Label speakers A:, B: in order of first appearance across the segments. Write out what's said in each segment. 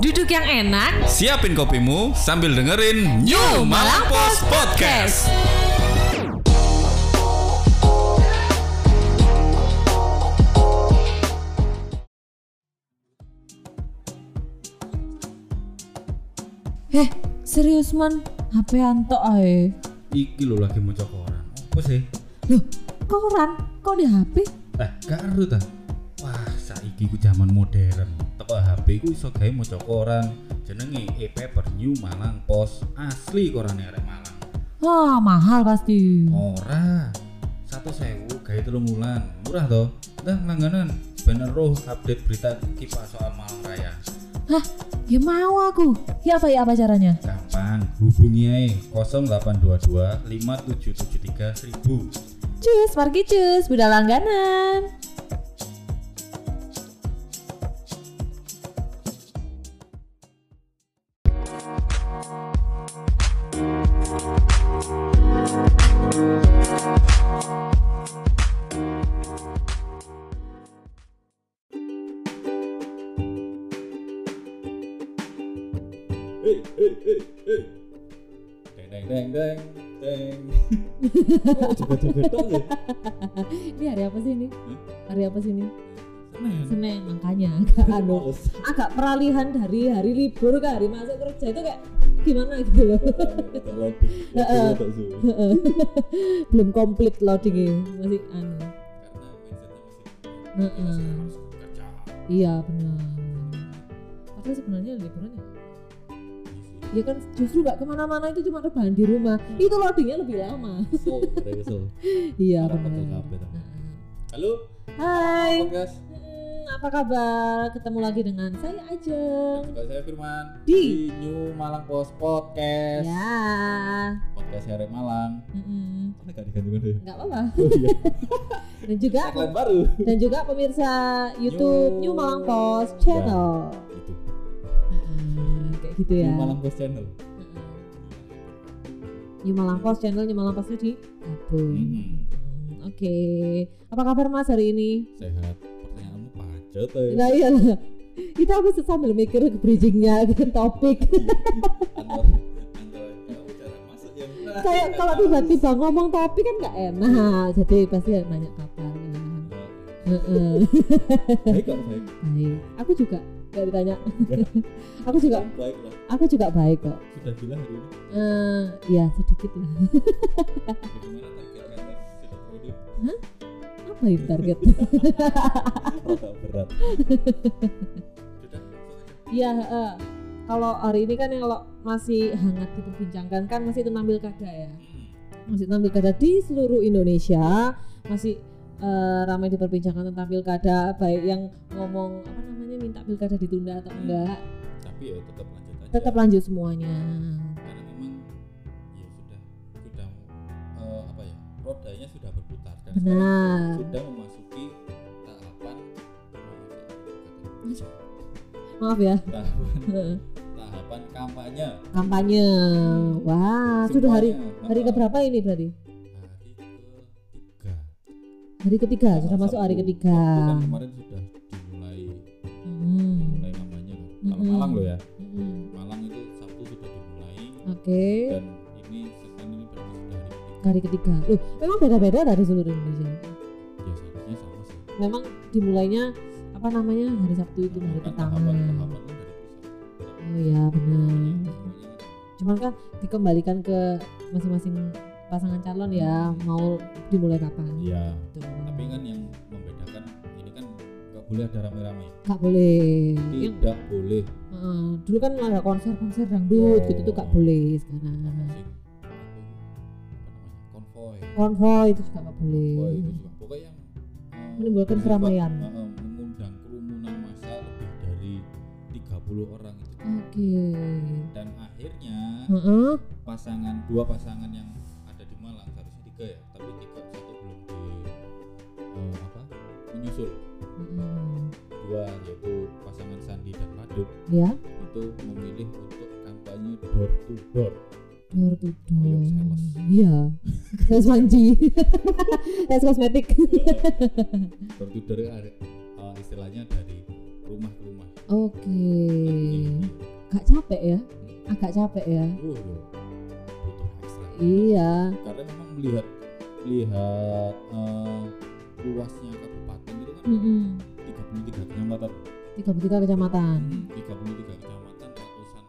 A: Duduk yang enak.
B: Siapin kopimu sambil dengerin New Malang Post Podcast.
C: Heh, Eh, serius man, HP anto ae.
D: Iki lho lagi mau koran. Apa sih?
C: Loh, koran, kok di HP?
D: Eh, karo ta. Wah, saiki ku zaman modern. Teko HP ku iso gawe mau koran. Jenenge e-paper New Malang Pos. Asli korane arek Malang.
C: Wah, Ah, mahal pasti.
D: Ora. Satu sewu gawe telung wulan. Murah to. Dah langganan. Bener roh update berita kipas soal Malang Raya.
C: Hah, ya mau aku. Ya apa ya apa caranya?
D: Kapan? Hubungi ae 0822 5773 1000.
C: Cus, margi cus, budal langganan.
D: Deng deng deng deng deng. Coba-coba tok ya.
C: Ini hari apa sih ini? Hari apa sih ini?
D: Senen.
C: Senin makanya agak anu, agak peralihan dari hari libur ke hari masuk kerja itu kayak gimana gitu loh. Heeh. Heeh. Belum komplit loadingnya masih anu. Heeh. Iya benar. Padahal sebenarnya liburan ya. Ya kan justru nggak kemana-mana itu cuma rebahan di rumah. Itu loadingnya lebih lama. iya benar. Nah,
D: Halo,
C: Hai,
D: Podcast.
C: Hmm, apa kabar? Ketemu lagi dengan saya Ajeng.
D: Juga saya Firman
C: Di.
D: di New Malang Post Podcast.
C: Ya,
D: Podcast Arek Malang.
C: mm-mm,
D: Ini gak digantungan deh.
C: nggak apa-apa.
D: Oh iya,
C: Dan juga
D: tagline baru.
C: dan juga pemirsa YouTube New
D: New-
C: Malang Post Channel.
D: Itu.
C: Heeh, kayak gitu ya.
D: Ya. New Malang Post Channel.
C: Heeh. New Malang Post Channel, New Malang Postnya di gabung.
D: Hmm,
C: Hmm, Oke, apa kabar Mas hari ini?
D: sehat. Pertanyaanmu pacet ya.
C: Nah iya, itu aku sambil mikir ke bridgingnya, ke topik.
D: Antara antara kalau bicara Ya, masuk ya, yang
C: kayak kalau tiba-tiba ngomong topik kan nggak enak jadi pasti yang nanya kabar Heeh,
D: Baik kok baik.
C: baik aku juga nggak ditanya aku juga
D: Baik lah.
C: aku juga baik kok
D: Sudah gila hari ini.
C: Eh, ya sedikit lah
D: Bagaimana target kalian? Sudah produk.
C: apa itu target
D: Agak berat.
C: Iya, heeh. kalau hari ini kan yang kalau masih hangat diperbincangkan kan masih tentang pilkada ya.
D: Hmm.
C: Masih tentang pilkada di seluruh Indonesia masih eh, ramai diperbincangkan tentang pilkada baik yang ngomong apa namanya minta pilkada ditunda
D: Hmm.
C: atau enggak
D: Tapi ya tetap lanjut aja.
C: tetap lanjut semuanya.
D: karena memang ya sudah sudah eh, apa ya rodanya sudah berputar dan
C: Benar.
D: sekarang sudah memasuki tahapan
C: Maaf ya
D: tahapan
C: Heeh.
D: tahapan kampanye
C: kampanye. Wah Ah, sudah hari
D: Semuanya.
C: hari keberapa ini berarti?
D: hari ketiga
C: Hari ketiga sudah
D: Tanggal
C: masuk hari
D: Sabtu.
C: ketiga.
D: Sabtu kan kemarin sudah dimulai
C: Hmm.
D: mulai kampanye loh kalau
C: Mm-mm.
D: Malang loh ya
C: Hmm.
D: Malang itu Sabtu sudah dimulai
C: Oke.
D: dan ini sekarang ini berarti sudah hari ketiga
C: hari ketiga. Loh, memang beda-beda dari seluruh Indonesia.
D: ya seharusnya sama sih
C: Memang dimulainya apa namanya hari Sabtu itu hari
D: Kan
C: pertama.
D: tahapan-tahapan kan dari pusat
C: Oh iya benar.
D: Semuanya kan
C: Cuman kan dikembalikan ke masing-masing pasangan calon ya mau dimulai kapan.
D: Iya,
C: Gitu.
D: tapi kan yang membedakan ini kan nggak boleh ada rame-rame.
C: Gak boleh. Yang,
D: Tidak boleh
C: eh, dulu kan ada konser-konser dangdut
D: Oh.
C: gitu tuh gak boleh sekarang.
D: ada sing apa itu, apa namanya, konvoy.
C: Konvoy itu juga gak
D: Konvoy itu
C: boleh.
D: juga pokoknya yang eh,
C: Iya. Menimbulkan
D: bersifat,
C: keramaian.
D: eh, eh, mengundang kerumunan massa lebih dari 30 orang itu.
C: Oke.
D: Dan akhirnya
C: Heeh.
D: pasangan dua pasangan yang ada di Malang harusnya tiga ya, tapi tiga satu belum di eh, apa menyusul
C: Heeh.
D: dua yaitu pasangan Sandi dan Madut
C: Ya,
D: itu memilih untuk kampanye door to door
C: door to door.
D: Koyok sales.
C: Iya. Sales panci. sales kosmetik.
D: door to door ada, uh, eh, istilahnya dari rumah ke rumah.
C: Oke.
D: Ini-
C: Gak capek ya? Agak capek ya?
D: Oh, iya. butuh ekstra.
C: Iya.
D: Karena memang melihat melihat eh, luasnya kabupaten itu kan
C: Mm-mm.
D: 33 kecamatan.
C: 33 kecamatan.
D: 33 kecamatan ratusan desa.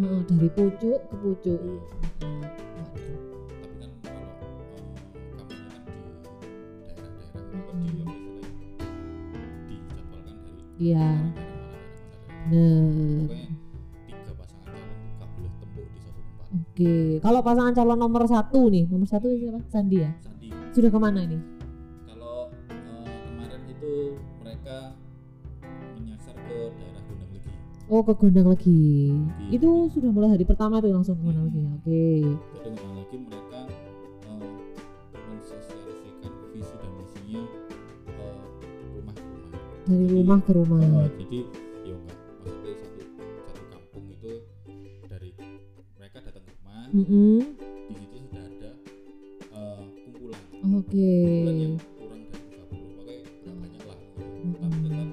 C: Heeh, dari pucuk ke pucuk.
D: Iya.
C: Heeh. Waduh.
D: tapi kan kalau eh, kampanye kan di daerah-daerah apa kan di apa istilahnya, dijadwalkan dari daerah-daerah mana, daerah mana, daerah mana. Pokoknya tiga pasangan calon tuh nggak boleh tembok
C: Iya. Nah.
D: di satu tempat
C: Hmm. Oke, kalau pasangan calon nomor satu nih, nomor satu siapa? Sandi ya.
D: Sandi
C: Sudah kemana ini?
D: kalau eh, kemarin itu mereka menyasar ke daerah Gunung Legi
C: Oh, ke Gondang lagi.
D: Iya.
C: Itu sudah mulai hari pertama tuh langsung ke Gondang lagi. Oke.
D: jadi Gunung Legi mereka eh, mensosialisasikan visi dan misinya eh, rumah ke rumah
C: Dari rumah ke rumah.
D: Oh, jadi ya enggak maksudnya satu satu kampung itu dari mereka datang ke rumah
C: Mm-mm.
D: di situ sudah ada eh, kumpulan
C: Oke.
D: kumpulan yang kurang dari 30 pokoknya nggak banyak lah
C: Hmm.
D: tapi tetap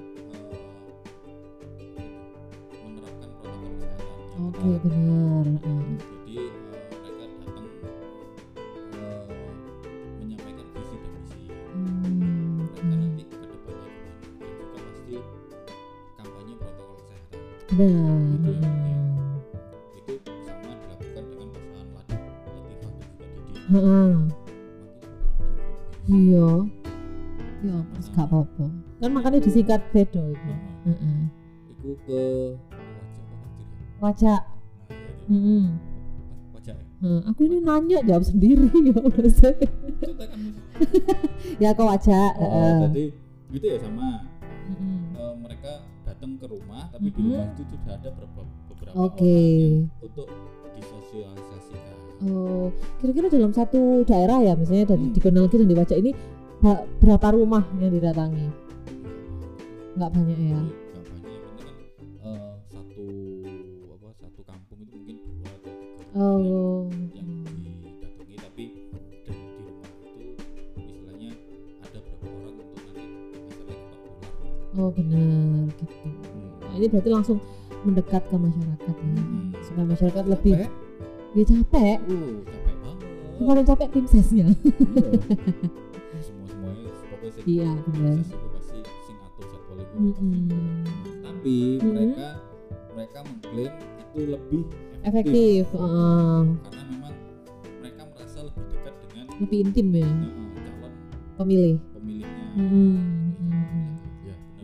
D: eh, menerapkan protokol kesehatan yang
C: Oke,
D: ketat.
C: benar. Ah,
D: jadi eh, mereka datang eh, menyampaikan visi dan misi
C: hmm,
D: mereka nanti ke depannya gimana dan juga pasti kampanye protokol kesehatan
C: Benar.
D: Itu yang
C: benar.
D: penting. itu sama dilakukan dengan pasangan Latif Latifah dan juga Didi
C: Heeh. Iya. Iya, terus gak apa-apa. Kan makanya disikat bedo itu.
D: Heeh.
C: Heeh.
D: Iku Nah, ke wajah apa wajah ya? Nah,
C: Wajak. Heeh.
D: ya, Wajah ya?
C: Heeh, aku ini nanya jawab sendiri ya Mas.
D: Contoh kan
C: ya kok wajak.
D: Oh,
C: Heeh.
D: jadi gitu ya sama
C: Heeh.
D: Eh, mereka datang ke rumah tapi di
C: Mhm.
D: rumah itu sudah ada beberapa, beberapa
C: Oke.
D: orang yang untuk disosialisasikan
C: Oh, kira-kira dalam satu daerah ya, misalnya
D: Hmm.
C: dari di Gondang Legi dan di Wajak ini ba- berapa rumah yang didatangi? Nggak banyak ya?
D: Jadi, kampanye yang penting kan eh, satu apa satu kampung itu mungkin dua atau tiga Yang-
C: Oh,
D: yang didatangi tapi dari di rumah itu istilahnya ada berapa orang untuk nanti misalnya kita ular
C: oh benar gitu. Nah, ini berarti langsung mendekat ke masyarakat ya,
D: Hmm.
C: supaya masyarakat lebih
D: Capek?
C: ya capek.
D: uh capek banget
C: Yang Paling capek tim sesnya.
D: Iya. semua semuanya pokoknya sih
C: Iya benar.
D: proses itu pasti sing atur jadwal itu
C: Mm-mm.
D: tapi
C: Mm-mm.
D: mereka mereka mengklaim itu lebih efektif,
C: Efektif, eh,
D: karena memang mereka merasa lebih dekat dengan
C: lebih intim ya
D: eh, calon
C: pemilih.
D: pemilihnya
C: Mm-mm.
D: Ya, benar.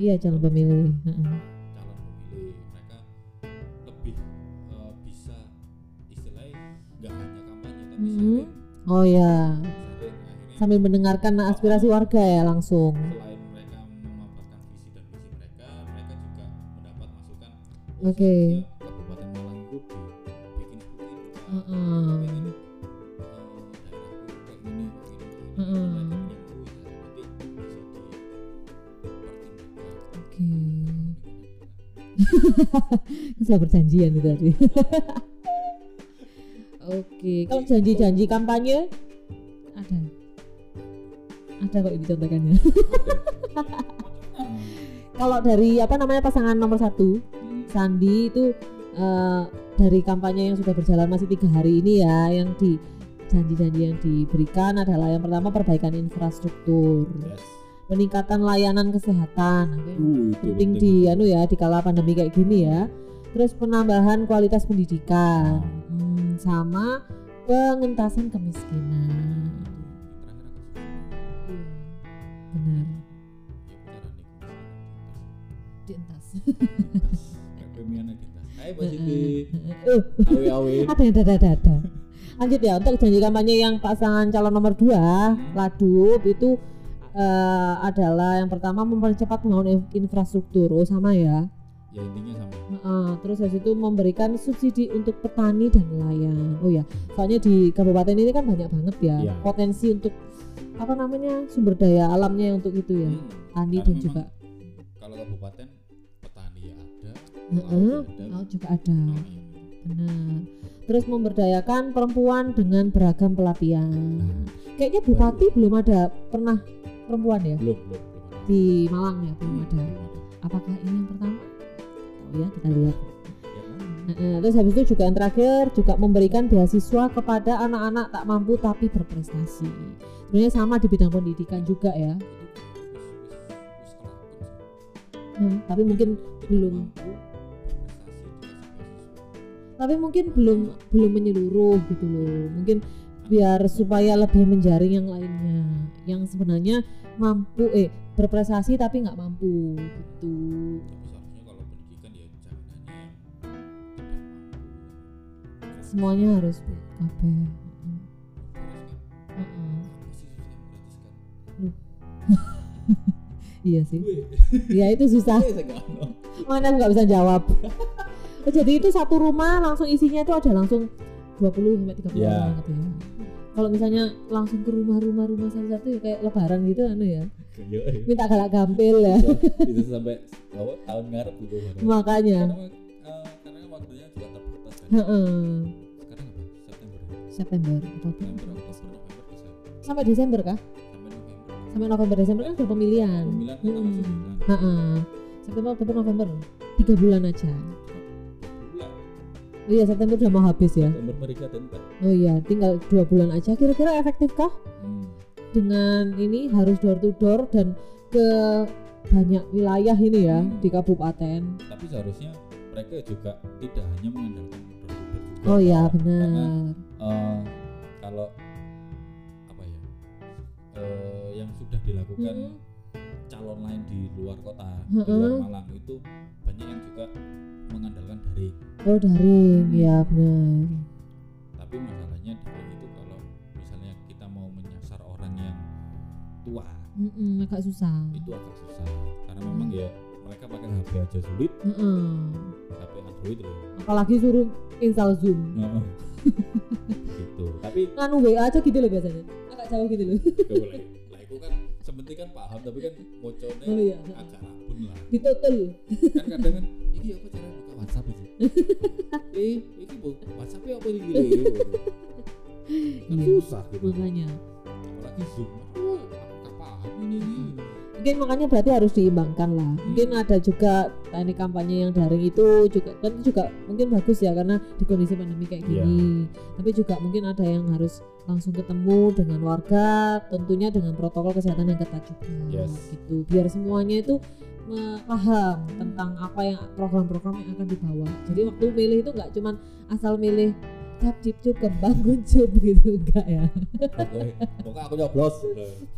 C: Iya calon pemilih. Heeh.
D: calon pemilih mereka lebih eh, bisa istilahnya nggak hanya kampanye tapi
C: Mhm.
D: sharing
C: Oh ya,
D: sharing akhirnya
C: sambil mendengarkan aspirasi warga ya langsung.
D: selain mereka memaparkan visi dan misi mereka mereka juga mendapat masukan oh,
C: Oke.
D: seharusnya kabupaten Malang itu dibikin seperti ini Pak.
C: Heeh.
D: Aku ingin, eh, daerahku kayak gini kayak gini kayak gini
C: Heeh.
D: mereka menyambut, ya, nanti bisa dipertimbangkan.
C: Oke. Saya berjanjian itu tadi. Oke, kalau janji-janji kampanye ada. Ada kok ini contekannya. kalau dari apa namanya pasangan nomor satu
D: Hmm.
C: Sandi itu eh, dari kampanye yang sudah berjalan masih tiga hari ini ya yang di janji-janji yang diberikan adalah yang pertama perbaikan infrastruktur,
D: Yes.
C: peningkatan layanan kesehatan. Oke.
D: Uh, itu
C: penting di anu ya di kala pandemi kayak gini ya. Terus penambahan kualitas pendidikan Hmm, sama pengentasan kemiskinan.
D: Terakhir aku
C: Benar,
D: ya bicara nih
C: dientas.
D: Dintas. Kayak pemiana dintas. Hai Mbak Siti.
C: Eh,
D: Awe awe.
C: ada yang dada dada. Lanjut ya untuk janji kampanye yang pasangan calon nomor 2 Ladup itu eh, adalah yang pertama mempercepat pembangunan in- infrastruktur oh, sama ya.
D: Ya intinya sama.
C: Heeh, terus habis itu memberikan subsidi untuk petani dan nelayan. Oh ya, soalnya di kabupaten ini kan banyak banget ya
D: Iya.
C: potensi untuk apa namanya sumber daya alamnya untuk itu ya,
D: Hmm.
C: tani
D: Karena
C: dan
D: memang
C: juga
D: kalau kabupaten petani ya ada,
C: Heeh,
D: laut ya ada,
C: laut juga ada.
D: nelayan.
C: Benar. Terus memberdayakan perempuan dengan beragam pelatihan.
D: Nah.
C: Kayaknya bupati belum ada pernah perempuan ya
D: Belum belum belum ada.
C: di Malang ya belum ada.
D: Belum ada.
C: Apakah ini yang pertama? Oh ya kita lihat.
E: Ya kan?
C: Heeh, terus habis itu juga yang terakhir juga memberikan beasiswa kepada anak-anak tak mampu tapi berprestasi. Sebenarnya sama di bidang pendidikan juga ya.
D: kan
C: Hmm, tapi mungkin belum tapi mungkin belum belum menyeluruh gitu loh mungkin biar supaya lebih menjaring yang lainnya yang sebenarnya mampu eh berprestasi tapi nggak mampu gitu
D: ya
C: semuanya harus eh, ya? BKP Heeh.
D: Ah,
C: iya sih ya itu susah mana nggak bisa jawab Oh, jadi itu satu rumah langsung isinya itu ada langsung 20 sampai 30
E: Ya.
C: orang gitu ya kalau misalnya langsung ke rumah-rumah rumah satu-satu ya kayak lebaran gitu anu ya minta galak gampil ya
D: itu sampai oh, tahun ngarep gitu
C: makanya
D: karena eh, karena waktunya juga terbatas kan
C: Heeh.
D: sekarang apa September
C: September Oktober
D: September Oktober November Desember
C: sampai Desember kah
D: sampai November
C: sampai November Desember kan udah pemilihan
D: pemilihan kita
C: Mm-mm.
D: masih bulan
C: Heeh. September Oktober November tiga bulan aja
D: bulan
C: oh iya September udah mau habis ya
D: September mereka tentang
C: oh iya tinggal dua bulan aja kira-kira efektif kah
D: hmm.
C: dengan ini harus door to door dan ke banyak wilayah ini ya di kabupaten.
D: tapi seharusnya mereka juga tidak hanya mengandalkan produk juga
C: Oh ya
D: Karena,
C: benar.
D: eh, kalau apa ya eh, yang sudah dilakukan
C: Mm-mm.
D: calon lain di luar kota di
C: Mm-mm.
D: luar Malang itu banyak yang juga mengandalkan dari
C: Oh daring ya benar.
D: tapi masalahnya di Bali itu kalau misalnya kita mau menyasar orang yang tua
C: Mm-mm, Hmm, agak susah.
D: itu agak susah karena memang ya mereka pakai HP aja sulit
C: Mm-mm.
D: HP Android loh
C: Apalagi suruh install Zoom.
D: Heeh. gitu tapi
C: Nganu WA aja gitu loh biasanya. Agak jauh gitu loh.
D: kalau lah lah aku kan sementing kan paham tapi kan moconnya
C: Oh iya.
D: agak rabun lah
C: Ditotul.
D: kan kadang kan ini apa cara buka WhatsApp itu eh ini bu WhatsApp apa ini gini kan
C: Iya.
D: susah gitu
C: Makanya.
D: apalagi Zoom aduh aku nggak paham ini ini
C: Mungkin makanya berarti harus seimbangkan lah. Mungkin ada juga teknik kampanye yang daring itu juga kan itu juga mungkin bagus ya karena di kondisi pandemi kayak
E: Iya.
C: gini. Tapi juga mungkin ada yang harus langsung ketemu dengan warga, tentunya dengan protokol kesehatan yang ketat juga.
D: Yes.
C: Gitu. Biar semuanya itu me- paham tentang apa yang program-program yang akan dibawa. Jadi waktu milih itu nggak cuman asal milih cap cip cup kembang kuncup gitu enggak ya.
D: Pokoknya- pokoknya aku nyoblos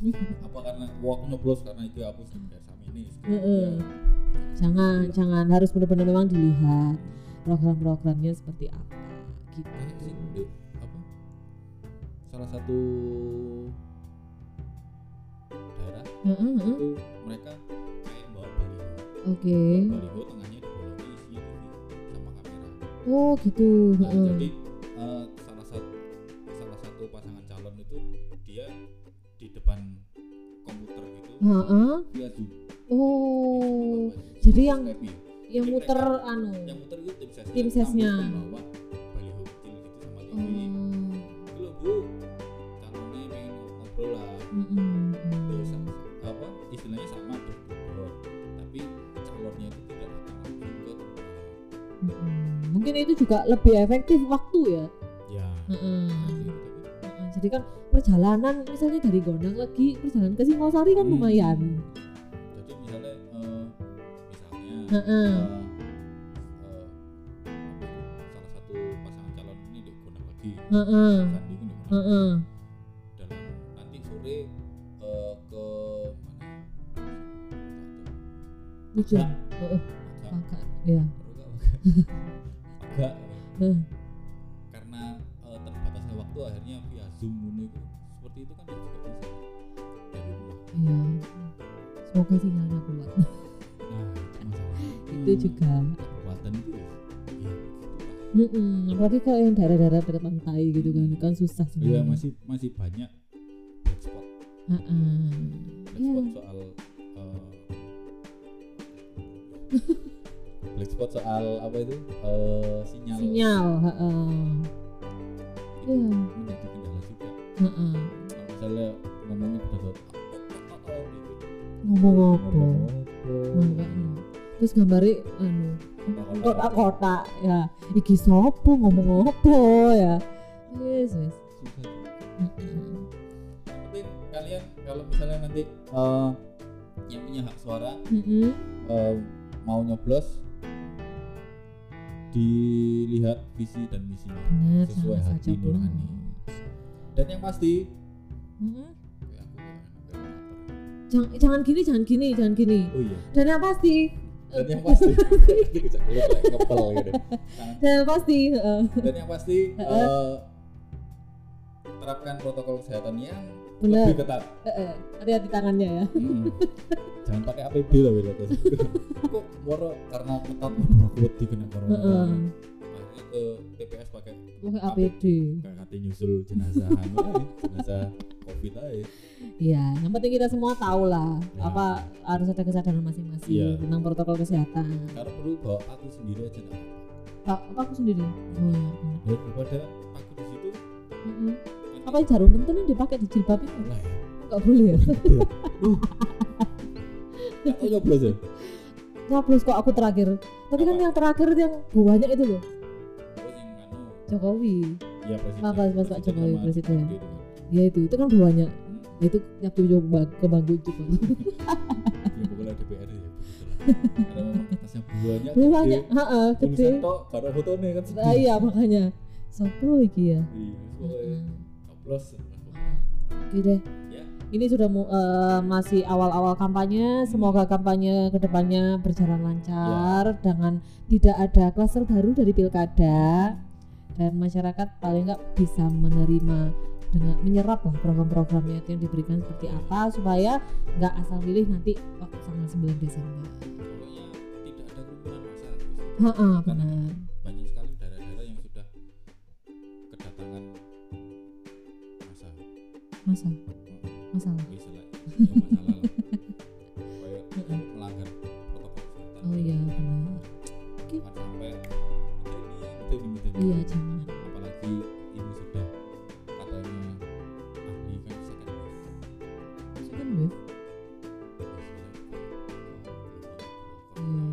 D: Nah, apa karena wah, aku nyoblos karena itu aku sudah sama ini
C: Heeh. Jangan, jangan harus benar-benar memang dilihat program-programnya seperti apa gitu.
D: Banyak sih, Dek. apa salah satu daerah
C: Heeh, heeh.
D: itu mereka kayak bawa baliho
C: Oke.
D: baliho tengahnya dibolongi isinya TV sama kamera
C: Oh gitu.
D: Nah,
C: Heeh.
D: jadi eh, salah satu salah satu pasangan calon itu dia di depan komputer gitu
C: Heeh.
D: dia zoom
C: Mm. Oh,
D: Dia zoom
C: jadi yang-
D: Skype-nya.
C: yang
D: Jadi
C: muter
D: mereka-
C: anu.
D: yang muter itu tim sesnya
C: Tim sesnya.
D: bawa baliho kecil gitu sama TV
C: Oh,
D: Itu loh, bu calonnya pengen ngobrol lah
C: mm-mm,
D: Terus,
C: mm.
D: Iya, apa istilahnya sama berbobot tapi calonnya itu tidak datang langsung ke tempat
C: Mm-mm. Mungkin itu juga lebih efektif waktu ya.
D: ya
C: Heeh. Heeh. Jadi kan perjalanan misalnya dari Gondang lagi perjalanan ke Singosari kan
D: Hmm.
C: lumayan.
D: jadi misalnya eh, misalnya
C: Heeh.
D: eh, eh, apa itu, salah satu pasangan calon ini digunakan lagi
C: Heeh.
D: Sandi ini digunakan
C: Heeh.
D: dalam nanti sore eh, ke ya? mana
C: Lucu.
D: Agak.
C: Heeh.
D: agak
C: Kakak. Ya.
D: agak
C: Heeh.
D: karena eh, terbatasnya waktu akhirnya via zoom ini itu seperti itu kan juga bisa dari rumah
C: Iya. Semoga sinyalnya kuat.
D: nah masalahnya
C: Itu juga.
D: kekuatan itu ya ya,
C: Mm-mm. Apalagi kalau yang daerah-daerah dekat pantai gitu kan, kan susah sih.
D: iya masih masih banyak black spot
C: Heeh.
D: black
C: Iya.
D: spot soal eh, black spot soal apa itu Eh, sinyal,
C: Sinyal. Heeh.
D: itu
C: Iya.
D: menjadi kendala juga
C: Heeh.
D: kalau misalnya ngomongnya berdasar oh, oh, oh, oh, gitu.
C: Ngomong apa?
D: Ngomong apa?
C: Makanya. terus gambari anu kotak-kotak ya iki sopo ngomong opo ya wis wis
D: susah Yang penting kalian kalau misalnya nanti eh, yang punya hak suara
C: Heeh.
D: eh, mau nyoblos dilihat visi dan misinya
C: Bener,
D: sesuai
C: sama
D: hati
C: saja, Bro.
D: nurani dan yang pasti
C: Heeh.
D: oh
C: jangan jangan gini jangan gini jangan gini
D: iya
C: dan yang pasti
D: dan yang pasti Nah, Nanti bisa keluar kayak ngepel gitu. Tangan.
C: dan yang pasti eh,
D: dan yang pasti eh, terapkan protokol kesehatan yang
C: Bener.
D: lebih ketat
C: eh, eh, hati-hati tangannya ya
D: Hmm. Jangan pakai APD lah beda Kok moro karena ketat moro kuat dikena corona.
C: Heeh.
D: Akhirnya ke TPS pakai
C: pakai APD
D: nggak kate nyusul jenazah anu ae, jenazah Covid aja.
C: Iya, yang penting kita semua tahu lah
D: Ya.
C: apa harus ada kesadaran masing-masing
D: Iya.
C: tentang protokol kesehatan.
D: Karena perlu bawa aku sendiri aja nggak apa-apa.
C: Pak, apa aku sendiri? Oh, iya, benar.
D: Daripada aku di situ
C: Mm-mm. Apa jarum pentil yang dipakai di jilbab itu?
D: lah ya.
C: Enggak boleh ya?
D: Atau nyoblos ya.
C: Nyoblos kok aku terakhir. Tapi kan
D: Apa?
C: yang terakhir itu yang banyak itu loh.
D: Terus yang anu
C: Jokowi.
D: ya presiden.
C: Maaf, Mas- Mas Pak Jokowi,
D: sama
C: presiden.
D: gitu kan.
C: Ya itu, itu kan banyak. Itu nyatu coba ke bangku itu. Bang.
D: Ya pokoknya DPR ya. begitu lah. Karena memang kertasnya banyak. gede.
C: banyak, heeh, gede.
D: Iya. Tulisan tok karo fotone kan sedih.
C: Nah, iya makanya. Sopo iki ya?
D: Iya, pokoknya
C: Heeh.
D: nyoblos.
C: Oke deh.
D: Ya.
C: Ini sudah mu- eh, masih awal-awal kampanye. Semoga kampanye kedepannya berjalan lancar dengan tidak ada klaster baru dari pilkada dan masyarakat paling nggak bisa menerima dengan menyerap lah program-programnya itu yang diberikan seperti apa supaya nggak asal pilih nanti waktu tanggal 9 Desember.
D: Pokoknya tidak ada kerumunan massa.
C: Heeh, benar.
D: Banyak sekali daerah-daerah yang sudah kedatangan masa
C: Masa masalah.
D: misalnya ya masalah lah. Kayak
C: Mm-mm.
D: melanggar protokol kesehatan.
C: Oh iya benar.
D: Jangan sampai kita ini kita ini kita ini.
C: Iya jangan.
D: Apalagi ini sudah katanya ahli kan second wave.
C: Second wave. Iya.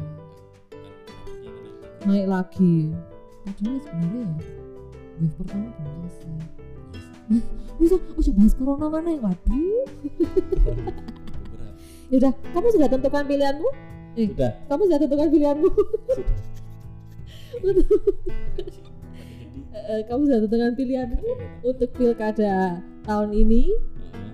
C: naik lagi padahal sebenarnya ya wave pertama belum selesai bisa ojo bahas corona mana ya waduh
D: Berat.
C: ya udah kamu sudah tentukan pilihanmu
D: Sudah,
C: kamu sudah tentukan pilihanmu
D: sudah.
C: Eh, eh, kamu sudah tentukan pilihanmu
D: Eh,
C: untuk pilkada tahun ini
D: nah.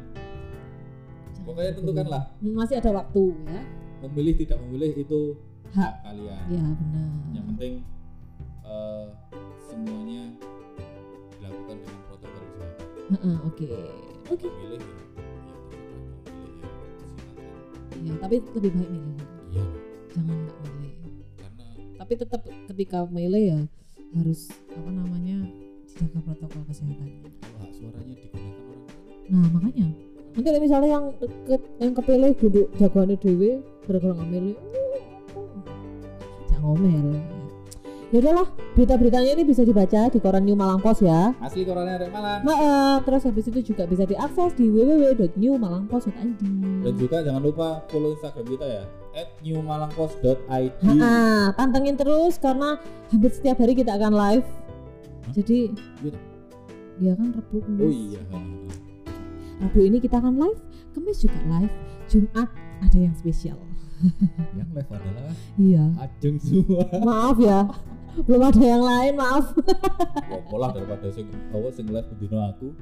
D: Pokoknya tentukanlah
C: masih ada waktu ya
D: memilih tidak memilih itu
C: hak
D: hak kalian.
C: ya benar
D: Yang penting eh, semuanya dilakukan dengan protokol kesehatan.
C: Heeh, oke oke
D: Memilih ya, ya terserah. Memilih ya silakan.
C: ya tapi lebih baik milih
D: Iya,
C: jangan nggak milih
D: karena
C: tapi tetap ketika milih ya harus apa namanya dijaga protokol kesehatannya
D: kalau hak suaranya digunakan orang lain,
C: nah makanya nanti ada misalnya yang deket yang kepilih duduk jagoannya dewe gara-gara nggak milih jangan "Uh, ngomel ya udahlah berita-beritanya ini bisa dibaca di koran New Malang Post ya
D: asli korannya Arek Malang.
C: Maaf, terus habis itu juga bisa diakses di www.newmalangpost.id
D: Dan juga jangan lupa follow Instagram kita ya @newmalangkos.id. Iya.
C: Ha-ha, pantengin terus karena hampir setiap hari kita akan live jadi
D: Gitu.
C: ya kan Rebu Kamis.
D: Oh iya.
C: Rabu ini kita akan live, Kamis juga live, Jumat ada yang spesial.
D: Yang live adalah
C: Iya.
D: Ajeng semua.
C: Maaf ya, belum ada yang lain, maaf.
D: Ya, pola daripada sing awal sing live bendino aku.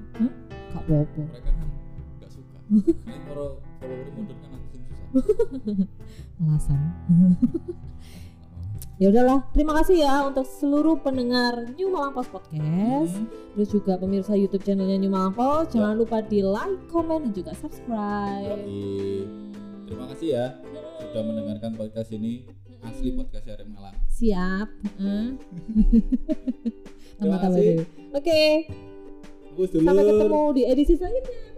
C: Kak Popo.
D: mereka kan nggak suka ini kalau kalau mundur kan aku sing susah
C: Alasan. Ya udahlah, terima kasih ya untuk seluruh pendengar New Malang Post
D: Hmm.
C: Podcast. Terus juga pemirsa YouTube channelnya New Malang Post.
D: Ya.
C: Jangan lupa di like, komen, dan juga subscribe.
D: Jadi, terima kasih ya sudah mendengarkan podcast ini asli podcast Arek Malang
C: Siap. Heeh.
D: Terima
C: Tambah-tambah
D: kasih.
C: dulu. Oke,
D: Aku dulu
C: sampai ketemu di edisi selanjutnya.
D: Iya, oh.